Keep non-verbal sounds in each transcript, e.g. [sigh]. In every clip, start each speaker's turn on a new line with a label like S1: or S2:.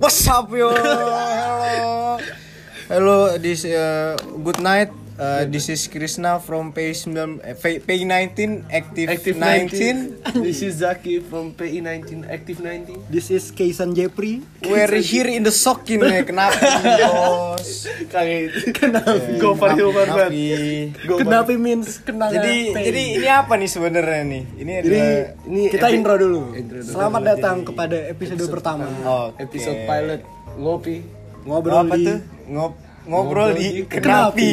S1: What's up yo? Hello. Hello, this uh, good night. Uh, this is Krishna from P9 eh, P- P19 Active,
S2: Active
S1: 19.
S2: 19. [laughs] This is Zaki from PI 19 Active 19.
S3: This is Keisan Jepri.
S1: We're here in the sokin eh. Kenapa bos?
S2: Kangen. Kenapa? Go for you, man.
S1: Kenapa?
S2: Go for
S3: Kenapa means kenal
S1: Jadi
S3: ngapain?
S1: jadi ini apa nih sebenarnya nih? Ini ada
S3: Jadi, ini kita
S2: epi-
S3: intro dulu.
S2: intro dulu.
S3: Selamat datang kepada episode, pertama.
S1: oh,
S2: Episode pilot ngopi.
S3: Ngobrol
S1: apa
S3: di
S1: tuh? Ngob ngobrol,
S2: Ngobrol
S1: di
S2: di
S1: Kenapi.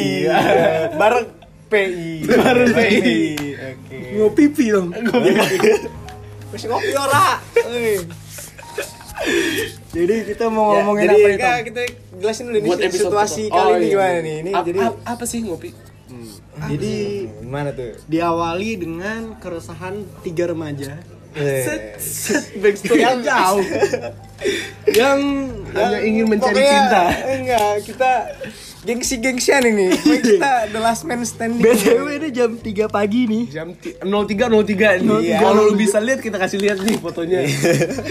S1: [laughs] Bareng PI. Bareng PI. Oke.
S3: ngopi pi dong.
S1: Terus ngopi ora.
S3: Jadi kita mau
S1: Ya,
S3: ngomongin
S1: jadi
S3: apa nih?
S1: kita,
S3: Tom?
S1: kita jelasin dulu nih
S2: Buat episode
S1: situasi
S2: pertama.
S1: kali
S2: Oh,
S1: ini
S2: iya.
S1: gimana nih. Ini
S2: Ap-
S1: jadi
S2: ap- apa sih ngopi?
S3: Jadi
S2: Hmm,
S1: gimana tuh?
S3: diawali dengan keresahan tiga remaja
S2: Eh, Backstory
S3: yang jauh yang
S2: Hanya ingin mencari
S1: Pokoknya,
S2: cinta.
S1: Enggak, kita gengsi-gengsian ini.
S2: [laughs]
S1: Pokoknya
S2: Iya.
S1: Kita the last man standing.
S3: BTW ini jam 3 pagi nih.
S2: Jam ti- 03.03 nih.
S1: 03.
S2: Iya. Kalau lu bisa lihat kita kasih lihat nih fotonya.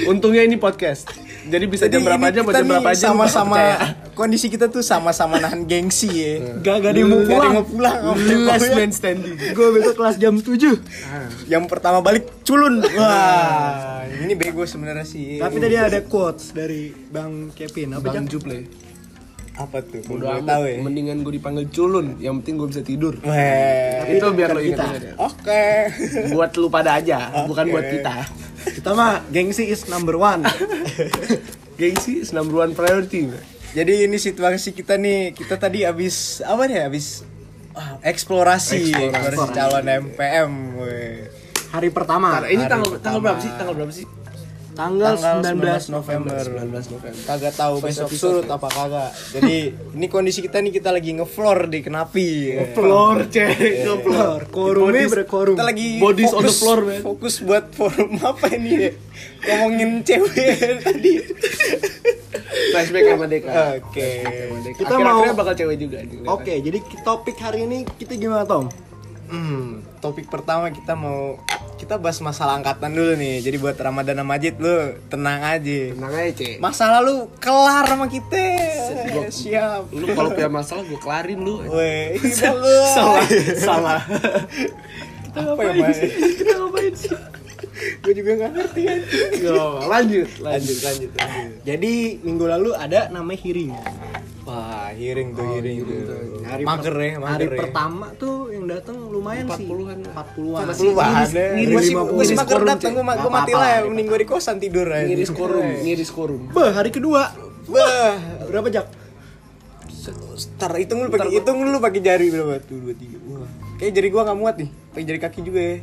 S2: Untungnya ini podcast. Jadi bisa jam berapa
S1: Iya. ini
S2: aja, buat
S1: kita
S2: jam berapa
S1: nih
S2: aja
S1: sama-sama kondisi kita tuh sama-sama nahan gengsi ya.
S2: Hmm.
S3: Gak, gak ada yang mau
S1: Gak ada yang
S3: pulang.
S1: mau pulang.
S2: Last man standing.
S3: Gue besok kelas jam 7.
S1: Yang pertama balik culun.
S2: Hmm.
S1: Wah, ini bego sebenarnya sih.
S3: Tapi tadi ada quotes dari Bang Kevin. Apa
S2: Bang
S3: Cak?
S2: Juple.
S1: apa tuh?
S2: Bodo
S1: Udah
S2: amat,
S1: tahu ya.
S2: Mendingan gue dipanggil culun, yang penting gue bisa tidur.
S1: Weh.
S2: Itu biar lo ingat. ya.
S1: Oke.
S2: Buat lu pada aja, bukan buat kita. [laughs]
S3: Kita mah gengsi is number one.
S2: Gengsi is number one priority. bro.
S1: Jadi ini situasi kita nih, kita tadi habis apa nih? Habis ah, eksplorasi,
S2: Eksplorasi.
S1: eksplorasi calon MPM. weh.
S3: Hari pertama.
S2: Ini tanggal tanggal berapa sih? Tanggal berapa sih?
S3: Tanggal,
S1: Tanggal 19
S3: 19.
S1: November.
S2: 19 November.
S1: Kagak tahu besok surut apa kagak. Jadi ini kondisi kita nih kita lagi ngefloor di Kenapi. weh.
S2: Floor
S3: Iya,
S2: cek, ke floor.
S3: Flor, Korumnya
S2: Bodies-
S3: berkorum.
S1: Kita lagi
S2: Bodies on
S1: fokus,
S2: the floor, man.
S1: fokus buat forum [laughs] apa ini? ya? Ngomongin cewek tadi.
S2: Flashback sama
S1: Eh,
S2: Deka.
S1: Oke.
S3: Kita
S2: Nah, Kita mau
S3: mau-
S2: bakal cewek juga nih.
S3: Oke, jadi topik hari ini kita gimana Tom?
S1: Hmm, topik pertama kita mau kita bahas masalah angkatan dulu nih. Jadi buat Ramadan sama Majid lu tenang aja.
S2: Tenang aja, Cek.
S1: Masalah lu kelar sama kita. Siap.
S2: Lu kalau punya masalah gue kelarin lu.
S1: Weh, ini bagus.
S2: salah.
S1: Apa ya, Bay?
S3: kita ngapain sih?
S1: Gue juga gak ngerti kan.
S2: lanjut,
S1: Lanjut,
S2: lanjut.
S1: lanjut, lanjut.
S3: Jadi minggu lalu ada namanya hearing.
S1: Wah, hearing tuh, Oh, hearing tuh.
S3: Hari
S1: Mager
S3: per-
S1: ya,
S3: Hari
S1: mager ya.
S3: pertama tuh yang datang lumayan sih.
S2: 40-an.
S3: 40-an.
S1: Lu bahan deh.
S2: ngiris
S1: Gue sih,
S3: 50.
S1: gue sih mager
S2: Ngiris
S1: dateng, gue ma- gue
S3: Nggak
S1: mati
S3: apa-apa,
S1: lah ya.
S3: nggak
S1: Mending gue di kosan tidur aja.
S2: Ngiris korum, ngiris korum.
S3: Bah, hari kedua.
S1: Bah,
S3: Berapa jak?
S1: Ntar hitung lu pakai hitung lu pakai jari berapa? Tuh dua tiga. Wah, kayak jari gua nggak muat nih. Pakai jari kaki juga ya.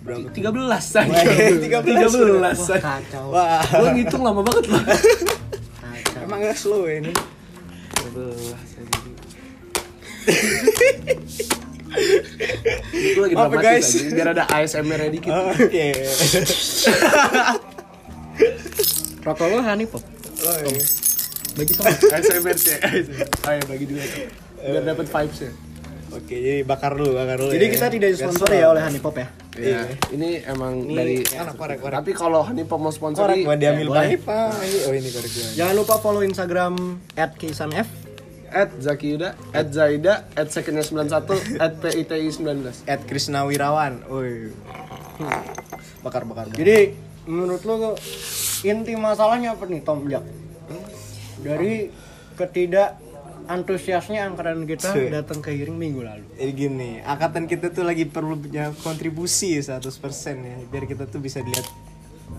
S1: Berapa?
S2: 13 aja.
S1: Wah, 13.
S2: 13
S3: Wah,
S2: aja.
S3: kacau.
S1: Wah,
S2: Gue ngitung lama banget lah.
S3: Kacau.
S1: emang gak slow ya ini.
S2: Itu lagi
S1: Maaf ya,
S2: dramatis
S1: guys.
S2: aja, biar ada ASMR-nya dikit.
S1: Oke.
S3: Rokok lo honey pop.
S1: Oh, iya.
S3: Bagi Tom.
S2: [laughs] ASMR
S1: [laughs]
S2: sih. Ayo Ah, iya, bagi dua. Biar dapat vibes-nya.
S1: Oke, jadi bakar dulu, bakar dulu.
S3: Jadi
S1: ya.
S3: kita tidak disponsori ya oleh honey pop ya.
S2: Iya. Ini emang
S1: Ini
S2: dari
S1: enak, korek, korek. Ya,
S2: Tapi kalau Hanif mau sponsor
S1: korek gua diambil
S2: boleh.
S1: baik, Pak. Ini- Oh, ini korek gua.
S3: Jangan lupa follow Instagram @keisanf.
S2: At Zaki Yuda, at Zaida, at Secondnya 91, at PITI 19
S1: At Krisna Wirawan. Woi. Bakar, bakar. bakar.
S3: Jadi menurut lo inti masalahnya apa nih Tom Jak? Dari ketidak antusiasnya angkatan kita
S1: Cuy.
S3: datang ke hearing minggu lalu.
S1: Jadi Eh, gini, angkatan kita tuh lagi perlu punya kontribusi 100% ya biar kita tuh bisa dilihat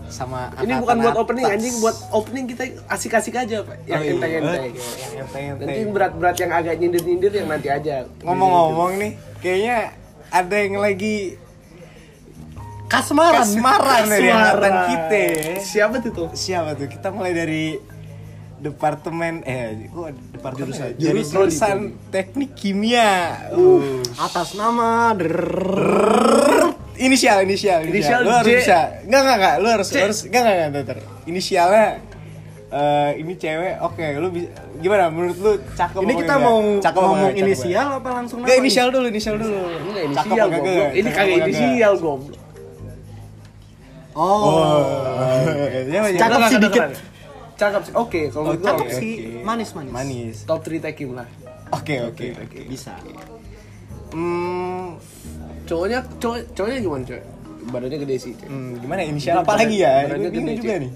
S1: sama angkatan
S2: Ini bukan buat
S1: atas.
S2: opening, anjing buat opening kita asik-asik aja Pak
S1: Oh, iya.
S2: Yang enteng-enteng
S1: Oke, yang
S2: Nanti
S1: enteng-enteng.
S2: berat-berat yang agak nyindir-nyindir yang nanti aja
S1: Ngomong-ngomong nih, kayaknya ada yang lagi
S3: Kasmaran.
S1: kasmaran dari angkatan kita. ya.
S2: Siapa tuh tuh?
S1: Siapa tuh? Kita mulai dari departemen eh kok departemen
S2: Jurusan.
S1: ya? Dari
S2: Jurusan.
S1: jurusan teknik kimia. Uh.
S3: Atas nama drrrr.
S1: Inisial, inisial,
S2: Inisial
S1: Lu harus
S2: J.
S1: bisa. Enggak, enggak, enggak. Lu harus, lu harus. Enggak, enggak, enggak. ntar, ntar. Inisialnya eh ini cewek. Oke, lu bisa, gimana menurut lu cakep
S3: Ini
S1: apa
S3: kita
S1: enggak?
S3: mau
S1: Cakep apa
S3: ngomong
S1: enggak? Cakep
S3: inisial apa langsung
S1: Enggak
S3: nama?
S1: inisial dulu, inisial dulu.
S2: Ini nggak
S1: Cakep
S2: inisial
S1: apa enggak?
S2: goblok Ini
S1: Cakep
S2: kagak
S1: apa enggak?
S2: inisial goblok
S3: Oh.
S1: Oh. Ya, ya,
S3: Cakep
S1: ya.
S3: sih dikit.
S2: Cakep sih. Oke, kalau
S1: Oh,
S2: menurut gua
S3: Cakep
S2: oke.
S3: sih, manis-manis.
S1: Manis.
S2: Top 3 tekim lah.
S1: Oke oke oke.
S3: Bisa.
S1: Hmm,
S2: Cowoknya cowok, cowoknya gimana, coy? Badannya gede sih, coy.
S1: hmm, gimana ya? inisial apa lagi ya?
S2: Badannya
S1: Gue bingung
S2: gede,
S1: juga
S2: cuy.
S1: nih.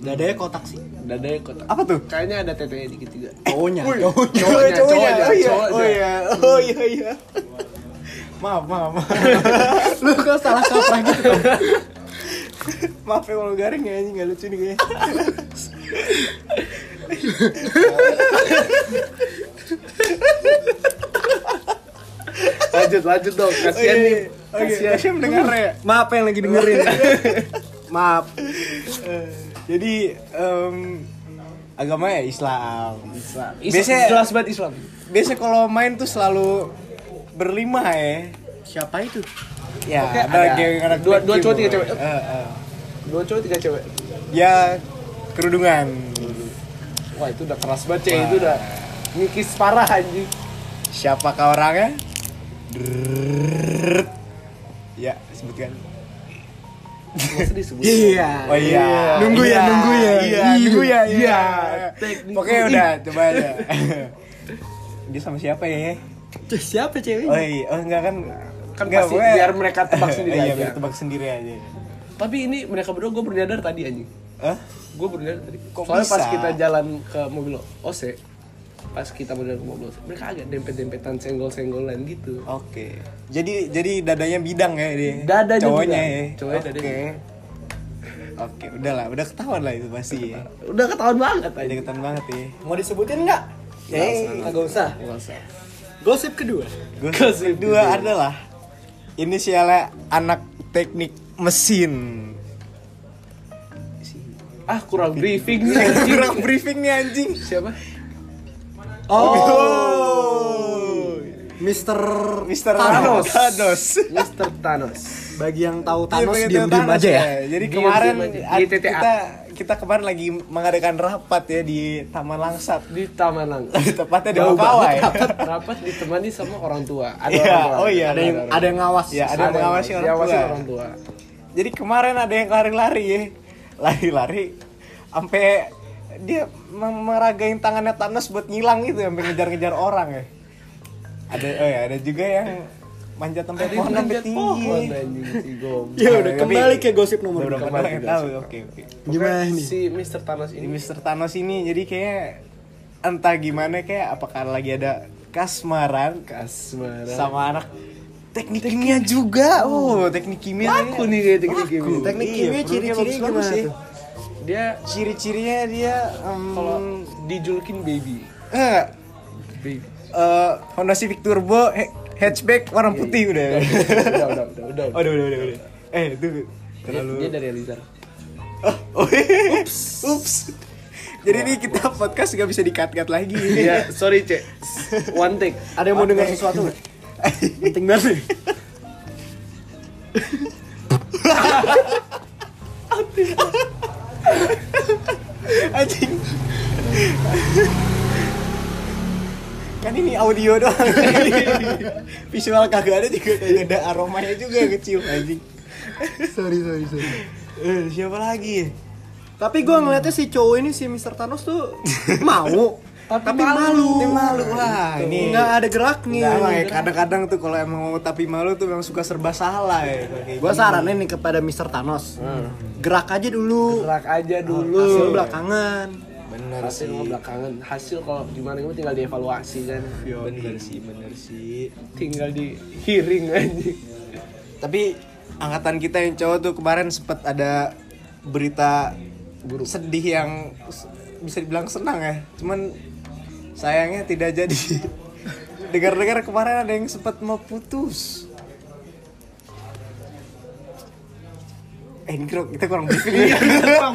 S3: Dadanya ya kotak sih.
S2: Dadanya kotak.
S1: Apa tuh?
S2: Kayaknya ada tetenya dikit juga.
S3: Cowoknya.
S1: Hmm. Ah. Cowoknya,
S2: Cowoknya,
S1: cowoknya,
S2: cowoknya,
S1: oh iya,
S2: cowoknya.
S1: oh iya, oh iya, iya. Maaf, maaf, maaf.
S3: Lu kok salah kaprah gitu?
S1: Maaf ya kalau garing ya, ini nggak lucu nih kayaknya.
S2: Lanjut, lanjut
S1: Oh
S2: dong.
S1: iya,
S2: Kasihan nih.
S1: Oke,
S2: Kasihan.
S1: Tasya mendengar ya.
S3: Maaf yang lagi dengerin. Maaf.
S1: Jadi, em, agama ya Islam.
S2: Islam. iya.
S1: Biasanya-
S2: Jelas banget Islam.
S1: Biasa kalau main tuh selalu berlima ya.
S3: Siapa itu?
S1: Ya,
S2: Oke,
S1: ada,
S2: ada.
S1: geng anak
S2: Dua- dua
S1: kecil,
S2: cowok, tiga
S1: pokoknya.
S2: cewek.
S1: Eh, eh.
S2: Dua cowok, tiga cewek.
S1: Ya, kerudungan.
S2: Wah, itu udah keras banget, coy. Itu udah ngikis parah anjing.
S1: Siapakah orangnya? Drrrr. Ya, sebutkan.
S2: Masa disebut?
S1: Oh iya.
S3: Nunggu ya,
S1: Iya,
S3: nunggu ya.
S1: Iya,
S3: Iya.
S1: nunggu ya. Iya.
S2: Teknik.
S1: Pokoknya udah, coba aja. [laughs] Dia sama siapa ya? Oh
S3: Siapa ceweknya?
S1: iya, oh enggak kan
S2: Kan
S1: Enggak,
S2: pasti
S1: pokoknya-
S2: biar mereka tebak sendiri
S1: [laughs] Iya,
S2: aja.
S1: biar tebak sendiri aja.
S2: Tapi ini mereka berdua gue bernyadar tadi anjing.
S1: Hah?
S2: Gue bernyadar tadi.
S1: Kok
S2: Soalnya pas
S1: bisa?
S2: kita jalan ke mobil OC, pas kita mau jalan ke mobil OC, mereka agak dempet-dempetan senggol-senggolan gitu.
S1: Oke. Jadi jadi dadanya bidang ya dia.
S2: Dadanya
S1: cowoknya
S2: bidang.
S1: ya.
S2: Cowoknya dadanya
S1: Oke. Oke, udah lah, udah ketahuan lah itu pasti ya.
S2: Udah ketahuan banget
S1: Udah
S2: anjing.
S1: ketahuan banget ya.
S3: Mau disebutin nggak? Eh, nggak usah.
S2: Nggak usah.
S3: Gosip kedua.
S1: Gosip kedua adalah inisialnya anak teknik mesin.
S2: Ah, kurang briefing nih anjing.
S1: [laughs] Kurang briefing nih anjing.
S2: Siapa?
S1: Oh.
S3: Mister
S1: Mister Thanos.
S3: Thanos.
S1: Thanos.
S2: Mr. Thanos.
S3: Bagi yang tahu
S1: Iya,
S3: Thanos
S1: pengen
S3: diem
S1: tahu
S3: diem
S1: Thanos,
S3: aja ya.
S1: ya. Jadi
S2: Diem-diem
S1: kemarin
S2: aja.
S1: ad-
S2: Di TTA.
S1: kita kita kemarin lagi mengadakan rapat ya di Taman Langsat. [laughs]
S2: Di Taman Lang.
S1: Tepatnya di ya.
S2: Jauh
S1: Bangkawai.
S2: banget rapat, rapat ditemani sama orang tua. Ada
S1: Iya,
S2: orang tua.
S1: oh iya,
S3: Ada yang ada yang ngawas.
S1: Ya, ada yang mengawasi orang
S2: diawasi
S1: tua.
S2: orang tua.
S1: Jadi kemarin ada yang lari-lari ya. Lari-lari sampai dia mem- meragain tangannya Thanos buat ngilang gitu sampai ngejar-ngejar orang ya. Ada oh ya, ada juga yang manjat sampai
S2: Ada yang
S1: pohon sampai
S2: manjat
S1: tinggi.
S2: pohon anjing si Gom.
S3: Ya udah
S1: Tapi-
S3: kembali ke gosip nomor
S1: Udah
S3: dua.
S1: berapa
S2: Kembali
S1: orang yang
S2: ke
S1: tahu?
S2: dasar.
S1: Oke, oke.
S3: Gimana
S2: Pokoknya
S3: ini?
S2: Si Mr. Thanos
S1: Di
S2: ini
S1: Mr. Thanos ini jadi kayak entah gimana kayak apakah lagi ada kasmaran
S2: kasmaran.
S1: sama anak teknik kimia juga. Oh, teknik kimia.
S2: Aku nih kayak teknik gini.
S3: Teknik
S1: Iya,
S3: kimia
S1: produknya
S3: ciri-ciri
S1: bagus-bagus
S3: gimana
S1: sih.
S3: tuh?
S2: Dia
S1: Ciri-cirinya dia em,
S2: kalau
S1: Hmm.
S2: dijulukin baby.
S1: eh, [laughs]
S2: Baby.
S1: eh, Honda Civic Turbo he- hatchback
S2: Iya,
S1: warna putih udah. [laughs]
S2: Udah, udah, udah, udah.
S1: Oh, udah, udah, udah, udah. Eh, itu
S2: Dia,
S1: terlalu.
S2: dia dari Elizar.
S1: Oh, [laughs] ups, ups. Jadi ini kita podcast gak bisa dikat-kat lagi.
S2: Iya, sorry, Cek. One take.
S3: Ada yang mau dengar sesuatu? nggak? Penting banget nih.
S1: Anjing. kan ini audio doang. Visual kagak ada juga kagak ada aromanya juga kecil anjing.
S3: Sorry sorry sorry.
S1: Eh, siapa lagi? ya?
S3: Tapi gue ngeliatnya si cowok ini si Mr. Thanos tuh mau, tapi, malu.
S1: Ini malu lah. Ini
S3: Nggak ada geraknya.
S1: Nggak lah ya, kadang-kadang tuh kalau emang mau tapi malu tuh memang suka serba salah ya.
S3: Gue saranin nih kepada Mr. Thanos, gerak aja dulu.
S2: Gerak aja dulu.
S3: Hasil belakangan.
S1: bener
S2: Ah, Hasil mau belakangan. Hasil kalau gimana gimana tinggal dievaluasi kan.
S1: Bener sih, bener sih.
S2: Tinggal di hearing [laughs] aja.
S1: Tapi angkatan kita yang cowok tuh kemarin sempet ada berita sedih yang s- bisa dibilang senang ya. Cuman sayangnya tidak jadi. Dengar-dengar kemarin ada yang sempet mau putus. Eh, ini kurang- kita kurang briefing.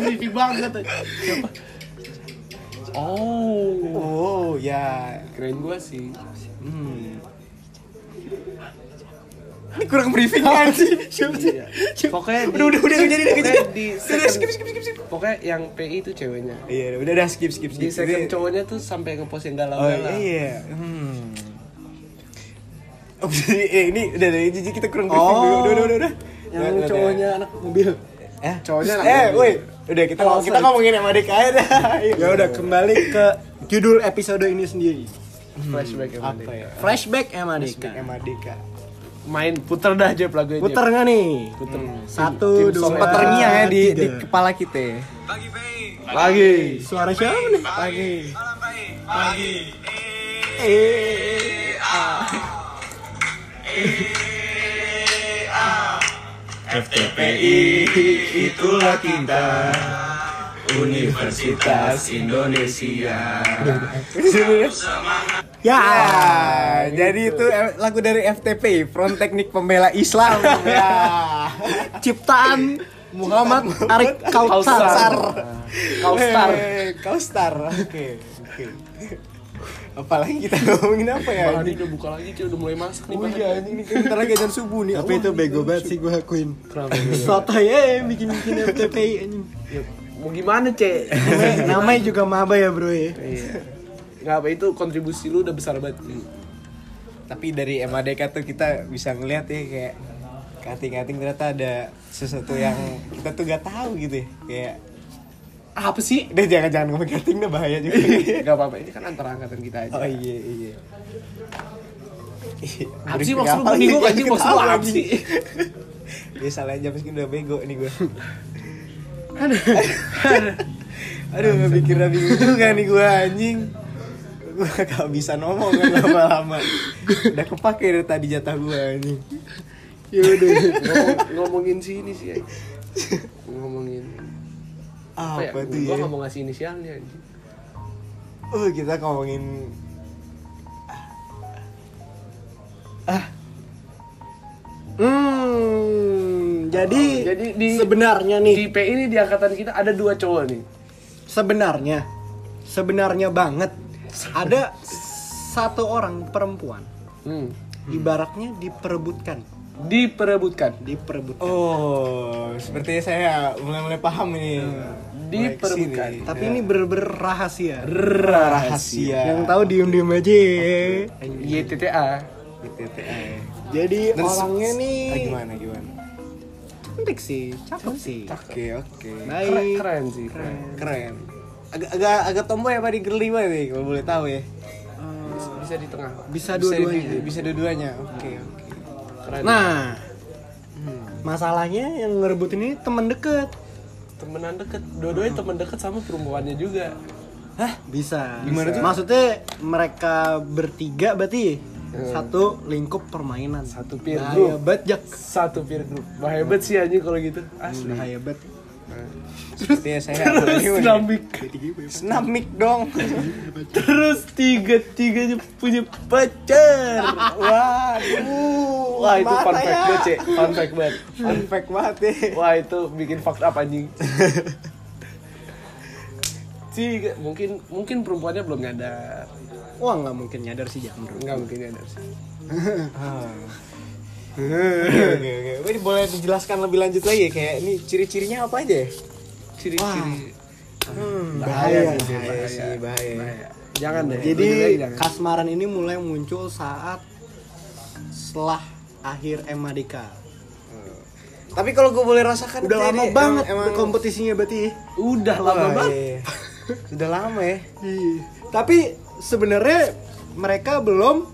S3: Briefing banget.
S2: Oh.
S1: oh, ya.
S2: Keren gua sih.
S1: Hmm. Ini kurang briefing kan sih? Siapa sih?
S2: Iya. Pokoknya
S1: Udah, udah, udah, jadi, udah,
S2: pokoknya
S1: jadi.
S2: di
S1: Udah,
S2: second,
S1: skip, skip, skip, skip.
S2: Pokoknya yang PI itu ceweknya.
S1: Iya, udah, udah, skip, skip, skip.
S2: Di second
S1: Jadi-
S2: cowoknya tuh sampai ngepost yang
S1: Oh
S2: galau-galau.
S1: iya. Hmm. Oh, jadi, eh, ini udah dari jijik kita kurang briefing
S3: Oh.
S1: dulu. Udah, udah, udah. udah.
S3: Yang
S1: Udah, udah,
S3: cowoknya anak mobil.
S1: udah. eh,
S2: cowoknya
S1: eh,
S2: anak
S1: woi, Udah kita ngom- kita ngomongin sama Dika aja dah. Iya. Ayo.
S3: Ya udah kembali ke judul episode ini sendiri.
S2: flashback ya,
S1: Apa
S2: Mandi.
S1: ya?
S3: Flashback eh, Emma
S1: Flashback
S3: Dika.
S1: sama Dika.
S2: main puter Hmm. dah aja lagunya
S3: Puter nggak nih?
S2: Puter.
S3: Satu, dua,
S1: Sempet terngiang ya di, di
S3: tiga.
S1: kepala kita.
S2: lagi
S3: Suara siapa nih? Pagi. Ya.
S1: Ah, jadi itu em- lagu dari FTP, Front Teknik Pembela Islam. ya.
S3: Ciptaan Muhammad Arik Kautsar.
S2: Kausar Kausar
S1: Hei, Kau star. Oke. Oke. Apalagi kita ngomongin apa ya?
S2: Wah, ini udah buka lagi cuy udah mulai masuk nih Bang.
S1: Iya, ini kan bentar lagi ajan subuh nih. Oh.
S3: Tapi itu bego banget sih gue akuin.
S2: Kenapa?
S3: Sotoy ya bikin-bikin FTPI anjing.
S2: Ya, mau gimana cek
S3: Namanya- Namanya juga maba ya bro ya.
S2: iya [laughs] nggak apa itu kontribusi lu udah besar banget
S1: Tapi dari MADK tuh kita bisa ngeliat ya kayak kating-kating ternyata ada sesuatu yang kita tuh gak tahu gitu ya. Kayak
S2: apa
S1: [laughs]
S2: sih
S1: udah jangan-jangan ngomong kating deh bahaya juga. [laughs]
S2: nggak apa-apa ini kan antara angkatan kita aja
S1: oh iya iya. Ih,
S2: Apa sih
S1: briefing
S2: maksud lu?
S1: apa
S2: Gua
S1: nih?
S2: bingung anjing, maksud lu
S1: Ketawa
S2: apa
S1: lagi.
S2: sih?
S1: Dia salah jam segini udah bego nih gue. [laughs] Aduh, nggak pikir bingung juga nih gue anjing. Gue gak bisa ngomong kan lama-lama. Udah kepake dari tadi jatah gue anjing.
S3: Ya udah.
S2: gitu. Ngomong- ngomongin sini sih ya. ngomongin apa ya
S1: Apa tuh
S2: gue
S1: ya?
S2: nggak mau ngasih inisialnya anjing.
S1: Oh, kita ngomongin
S3: Hmm, jadi,
S2: Jadi di-
S3: sebenarnya Ya, nih,
S2: di PI ini di angkatan kita ada dua cowok nih
S3: sebenarnya, sebenarnya banget ada satu orang perempuan
S2: hmm.
S3: ibaratnya diperebutkan,
S2: diperebutkan
S3: diperebutkan.
S1: Oh, sepertinya saya mulai-mulai paham ini. Mulai kesini.
S2: Diperebutkan.
S3: Tapi ini bener-bener rahasia.
S1: rahasia.
S3: Yang tahu diem-diem aja.
S2: YTTA
S1: ITTI.
S3: Jadi
S1: Dan se-
S3: orangnya nih
S1: Ah, gimana gimana?
S3: eh, cantik sih, cakep sih.
S1: Oke, oke.
S2: keren,
S3: Baik.
S2: keren sih keren.
S1: Keren. Agak agak agak tomboy apa di girly banget nih kalau boleh tahu ya.
S2: bisa di tengah
S3: eh, Bisa
S1: Bisa di-
S3: dua-duanya.
S1: Bisa dua-duanya. Oke, oke.
S2: keren
S3: Nah, masalahnya yang ngerebut ini temen deket.
S2: temenan deket dua-duanya temen deket sama perempuannya juga
S3: Bisa.
S1: Gimana
S3: Bisa.
S1: tuh?
S3: Maksudnya mereka bertiga berarti ya? satu lingkup permainan.
S2: Satu peer
S3: Bahaya banget, Jak.
S2: satu peer group Wah, hebat sih anjing kalau gitu asli
S3: Bahaya banget.
S1: Sepertinya saya
S2: [laughs] terus
S1: Senam
S2: dinamik
S1: Senam mic dong.
S2: terus tiga tiganya punya pacar waduh wah itu fun fact banget cek fun fact banget
S1: ya? Fun fact banget ya.
S2: wah itu bikin fucked up anjing tiga mungkin mungkin perempuannya belum nyadar
S3: Wah nggak mungkin nyadar sih Jak. menurut
S2: nggak mungkin nyadar sih
S1: Ah. Oke, oke, oke. Ini boleh dijelaskan lebih lanjut lagi ya? kayak ini ciri-cirinya apa aja ya?
S2: ciri-ciri
S1: bahaya, sih, bahaya, sih, bahaya.
S2: jangan deh
S3: gue. Jadi
S2: Lebih baik jangan.
S3: kasmaran ini mulai muncul saat setelah akhir MADK.
S1: Tapi kalau gue boleh rasakan
S3: Udah
S1: kayaknya Kan
S3: lama
S1: emang-
S3: banget
S1: emang,
S3: kompetisinya berarti.
S2: udah lama
S1: Wah, [laughs]
S2: banget
S1: iya. Sudah lama ya.
S3: Iya. Tapi sebenarnya mereka belum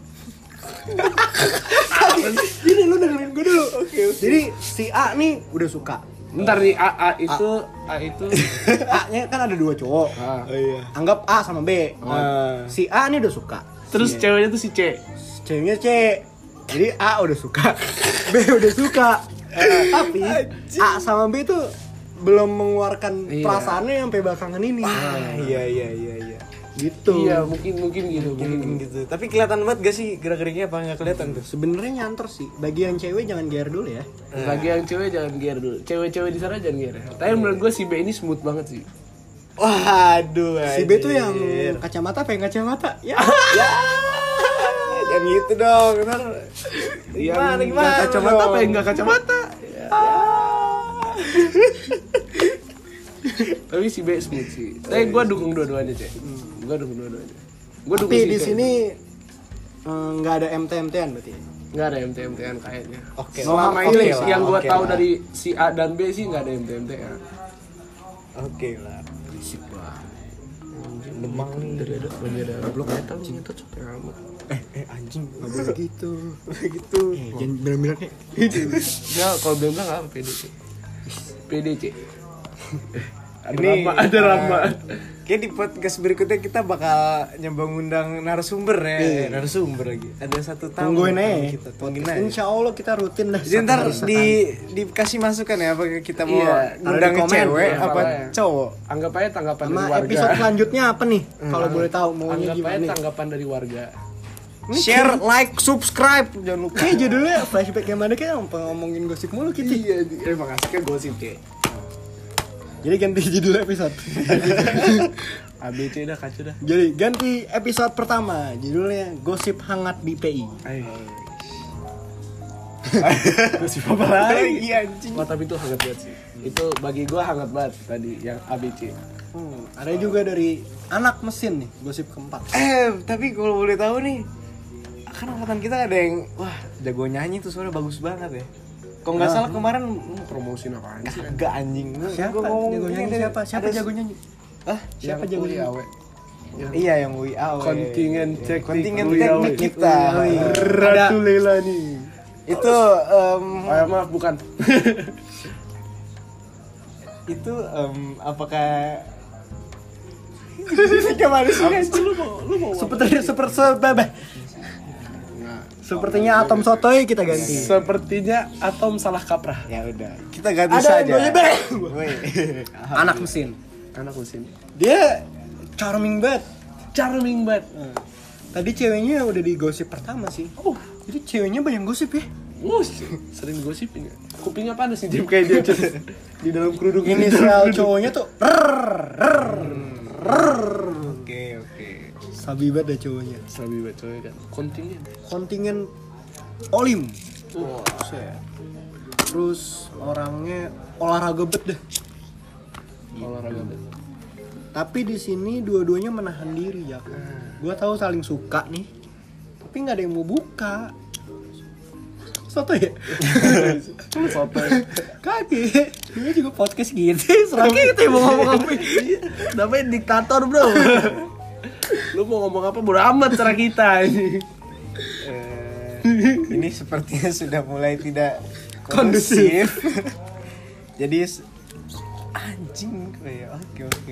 S3: Gini lu dengerin gue dulu. Jadi si A nih udah suka.
S2: Bentar nih AA itu A, itu
S3: A-nya kan ada dua cowok.
S2: A.
S1: Oh iya. Oh.
S3: Anggap A sama B. Si A nih udah suka.
S2: Terus ceweknya tuh si C.
S3: Ceweknya C. Jadi A udah suka, [laughs] B udah suka. Eh, tapi A sama B tuh belum mengeluarkan
S2: Iya.
S3: perasaannya sampai belakangan ini.
S1: Ah, iya iya iya iya.
S3: Gitu.
S2: Iya, mungkin mungkin gitu, mungkin.
S1: Mungkin gitu. Tapi kelihatan banget gak sih gerak-geriknya apa nggak kelihatan tuh?
S3: Sebenarnya nyantor sih. Bagi yang cewek jangan gear dulu ya.
S2: Bagi yang cewek jangan gear dulu. Cewek-cewek di sana jangan gear. ya. Tapi menurut gue si B ini smooth banget sih.
S1: Waduh.
S3: Si B tuh yang
S1: anjir.
S3: kacamata pengen kacamata. Ya.
S1: ya. Jangan gitu dong. Ntar gimana
S2: Yang-
S1: gimana?
S2: yang kacamata
S1: dong?
S2: apa yang nggak kacamata? Ya. [laughs] Tapi si B smooth sih. Tapi gue dukung dua-duanya cek. Gue dukung dua-duanya. Gue dukung
S3: Tapi di
S2: C.
S3: sini eh, nggak ada MTMT-an berarti. ya?
S2: nggak ada MTMT-an kayaknya.
S1: Oke.
S3: Selama
S1: oke
S3: ini
S1: lah,
S2: yang gue
S1: oke
S2: tahu
S1: lah.
S2: dari si A dan B sih nggak ada MTMT-an.
S1: Oke lah.
S2: Berisik banget.
S1: Demang nih.
S2: Dari ada lagi ada blok metal lu nyetot capek amat.
S1: Eh, eh anjing.
S4: Nggak boleh gitu.
S1: [laughs] Begitu.
S4: Eh, jangan bilang-bilang kayak
S2: Enggak, Ya, kalau bilang enggak apa PDC. PDC. Ada
S1: Ini,
S2: Rama, ada
S1: eh,
S2: Rama.
S1: Kayak di podcast berikutnya kita bakal nyambang undang narasumber ya. Narasumber lagi. Ada satu tamu. kan
S3: Tungguin aja.
S1: Kita tungguin aja.
S3: Insya Allah kita rutin dah.
S1: Jadi
S3: satu
S1: ntar
S3: hari sekali.
S1: di dikasih masukan ya apa kita mau
S2: Iya,
S1: ngundang
S3: taruh di komen,
S1: cewek
S2: ya,
S1: apa
S2: soalnya.
S1: cowok?
S2: Anggap aja tanggapan
S3: sama
S2: dari warga.
S3: episode selanjutnya apa nih? Kalau boleh tahu maunya
S2: Anggap aja
S3: gimana?
S2: tanggapan dari warga.
S1: Share, like, subscribe, jangan lupa.
S3: Kayak judulnya flashback yang mana kayak ngomongin gosip mulu kita.
S1: Iya, terima kasih ke gosip deh.
S3: Jadi ganti judul episode.
S2: ABC dah kacau dah.
S3: Jadi ganti episode pertama judulnya gosip hangat BPI.
S2: [laughs] Ayo.
S3: Gosip apa lagi?
S1: [laughs] Iya anjing.
S2: Wah, tapi itu hangat banget sih. Itu bagi gua hangat banget tadi yang ABC.
S3: Hmm, ada juga dari anak mesin nih gosip keempat.
S1: Eh, tapi kalau boleh tahu nih, kan angkatan kita ada yang wah jago nyanyi tuh suara bagus banget ya. Kok nggak salah kemarin
S2: Promosiin apaan sih?
S1: kagak anjing. Gua-
S3: Siapa
S1: gua ngomong
S3: jago
S1: ini
S3: nyanyi?
S1: ada-
S3: Siapa? Siapa
S1: ada-
S3: jago nyanyi?
S1: Hah?
S3: Siapa
S2: Yang
S3: jago
S2: Uli
S3: nyanyi?
S2: Awe. Yang
S1: Iya yang WIAW.
S2: Kontingen teknik
S1: kontingen
S2: Uli Awe.
S1: teknik kita.
S3: Uli Awe.
S2: Ratu Leila nih.
S1: Itu em,
S2: Oh, ya, maaf [laughs] bukan.
S1: itu em, apakah [laughs] Gimana sih guys?
S3: Eh, Seperti seper, sebebe. Sepertinya atom sotoy kita ganti.
S2: Sepertinya atom salah kaprah.
S1: Ya udah, kita ganti
S3: Ada
S1: saja.
S3: yang boleh,
S1: Woi.
S3: Anak mesin.
S2: Anak mesin.
S3: Dia charming banget.
S2: Charming banget.
S3: Nah, Tadi ceweknya udah di gosip pertama sih. Oh, jadi ceweknya banyak gosip ya?
S2: Wus, sering gosipin ya. Kupingnya panas sih Jim [laughs] kayak dia Jim. di dalam kerudung
S3: Inisial cowoknya tuh rrrr,
S1: Oke, oke.
S3: Sabi banget dah cowoknya.
S2: [laughs] Sabi banget coy kan. Kontingen.
S3: Kontingen Olim.
S2: Wah,
S3: Buset. Terus orangnya olahraga bet deh.
S2: olahraga banget.
S3: Tapi di sini dua-duanya menahan diri ya. Gua tahu saling suka nih. Tapi nggak ada yang mau buka. Soto [laughs] ya?
S2: Foto.
S3: Kaki. Gue juga podcast gitu. [laughs] Selagi kita yang mau ngomong apa.
S2: Namanya diktator, Bro. [laughs] Lu mau ngomong apa bodo amat cara kita ini.
S1: Eh, ini sepertinya sudah mulai tidak kondusif. [laughs] Jadi s- anjing gue ya. Oke,
S2: [laughs]
S1: oke.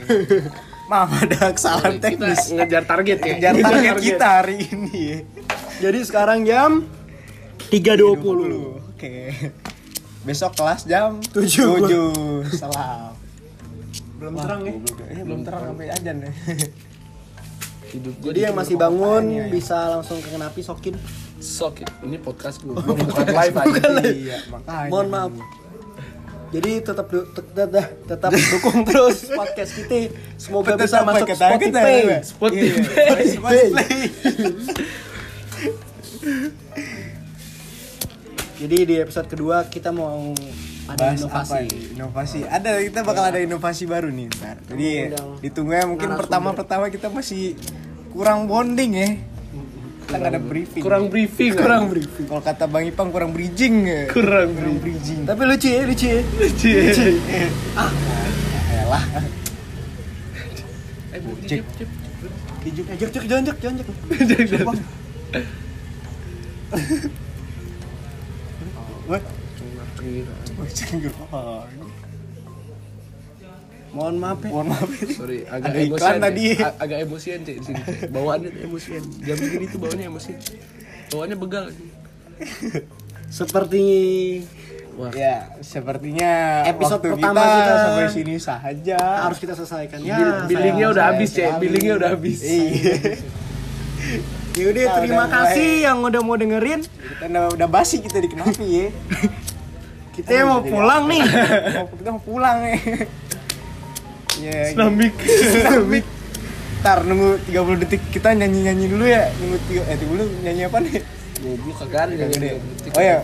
S1: Maaf ada kesalahan
S2: Kita
S1: teknis.
S2: ngejar target ya.
S1: Kejar target kita hari ini. ya.
S3: [laughs] Jadi sekarang jam 3.20.
S1: Oke. Besok kelas jam
S3: Tujuh.
S1: 7. Salam.
S3: Belum terang ya.
S1: Eh, belum terang sampai ajan ya.
S2: Hidup gua
S3: Jadi yang masih bangun bisa langsung ke kenapi sokin.
S2: sok. ya. Ini podcast
S1: [laughs]
S2: gua. Bukan live aja.
S1: Iya, makanya.
S3: Mohon maaf. Jadi tetap du- tet- tet- tetap [laughs] dukung terus podcast kita. Semoga bisa masuk Spotify.
S1: Spotify. ya? Iya. Spotify.
S3: Jadi di episode kedua kita mau ada
S1: Bahas
S3: inovasi.
S1: apa nih? inovasi. Ada kita bakal ada inovasi baru nih ntar. Jadi
S3: Undang
S1: ditunggu ya mungkin pertama-pertama kita masih kurang bonding ya. Kita nggak ada briefing.
S2: [laughs] Kurang briefing. eh.
S3: Kurang briefing.
S1: Kalau kata Bang Ipang kurang bridging ya.
S2: kurang
S1: Kurang bridging.
S3: Tapi lucu ya, lucu ya.
S2: briefing.
S1: Elah.
S2: Eh, Bu, Jip, Jip.
S3: Ajak, ajak, eh, jangan, jangan, jangan.
S1: Wah,
S2: Gila,
S1: wah, cengger. Oh, ini-
S3: Mohon maaf ya.
S1: Mohon maaf.
S2: Sorry, agak
S1: Ada
S2: emosian
S1: iklan
S2: ya.
S1: tadi.
S2: A- agak emosian cek di sini. Cek. Bawaannya tuh emosian. Jam segini tuh bawaannya emosian. Bawaannya begal.
S3: Seperti
S2: Wah,
S1: Ya, sepertinya
S3: Episode
S1: waktu
S3: pertama kita
S1: sampai sini saja.
S3: harus kita selesaikan ya.
S2: Bil- billingnya
S3: sayang.
S2: udah habis cek. Billingnya udah habis.
S1: Iya.
S3: Yaudah,
S1: Nah,
S3: terima
S1: udah mulai.
S3: kasih yang udah mau dengerin.
S1: Kita udah, udah basi kita di Kenapi ya.
S3: [laughs] Kita mau
S1: jadi
S3: pulang nih.
S1: Mau- [laughs] kita mau pulang ya. Ya,
S2: Islamik.
S1: Islamik. Ntar nunggu 30 detik kita nyanyi-nyanyi dulu ya. Nunggu tiga, eh tunggu dulu nyanyi apa nih?
S2: Goblok kagak ada yang
S1: Gede.
S2: ini.
S1: Oh ya,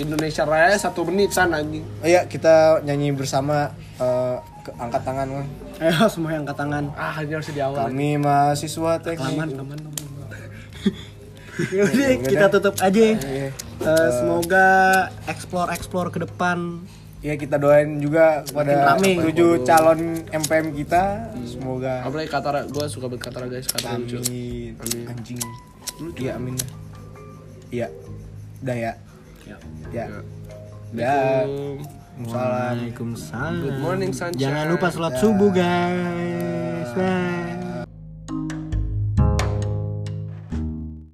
S2: Indonesia Raya satu menit sana anjing.
S1: oh ya kita nyanyi bersama eh, ke- angkat tangan Bang.
S3: Ayo semua yang angkat
S1: [laughs]
S3: tangan.
S2: Ah, ini harus di awal.
S1: Kami mahasiswa teknik.
S3: Aman, aman, aman. Yaudah, kita tutup aja.
S1: Iya.
S3: Eh, semoga explore explore ke depan
S1: ya kita doain juga kepada
S3: rame.
S1: tujuh calon MPM kita semoga
S2: Apalagi Katara, gue suka banget Katara guys, Katara lucu.
S1: amin
S2: Amin.
S1: anjing iya amin iya dah ya ya ya Salam.
S3: Waalaikumsalam.
S2: Good morning, sunshine.
S3: Jangan lupa sholat subuh guys. Bye.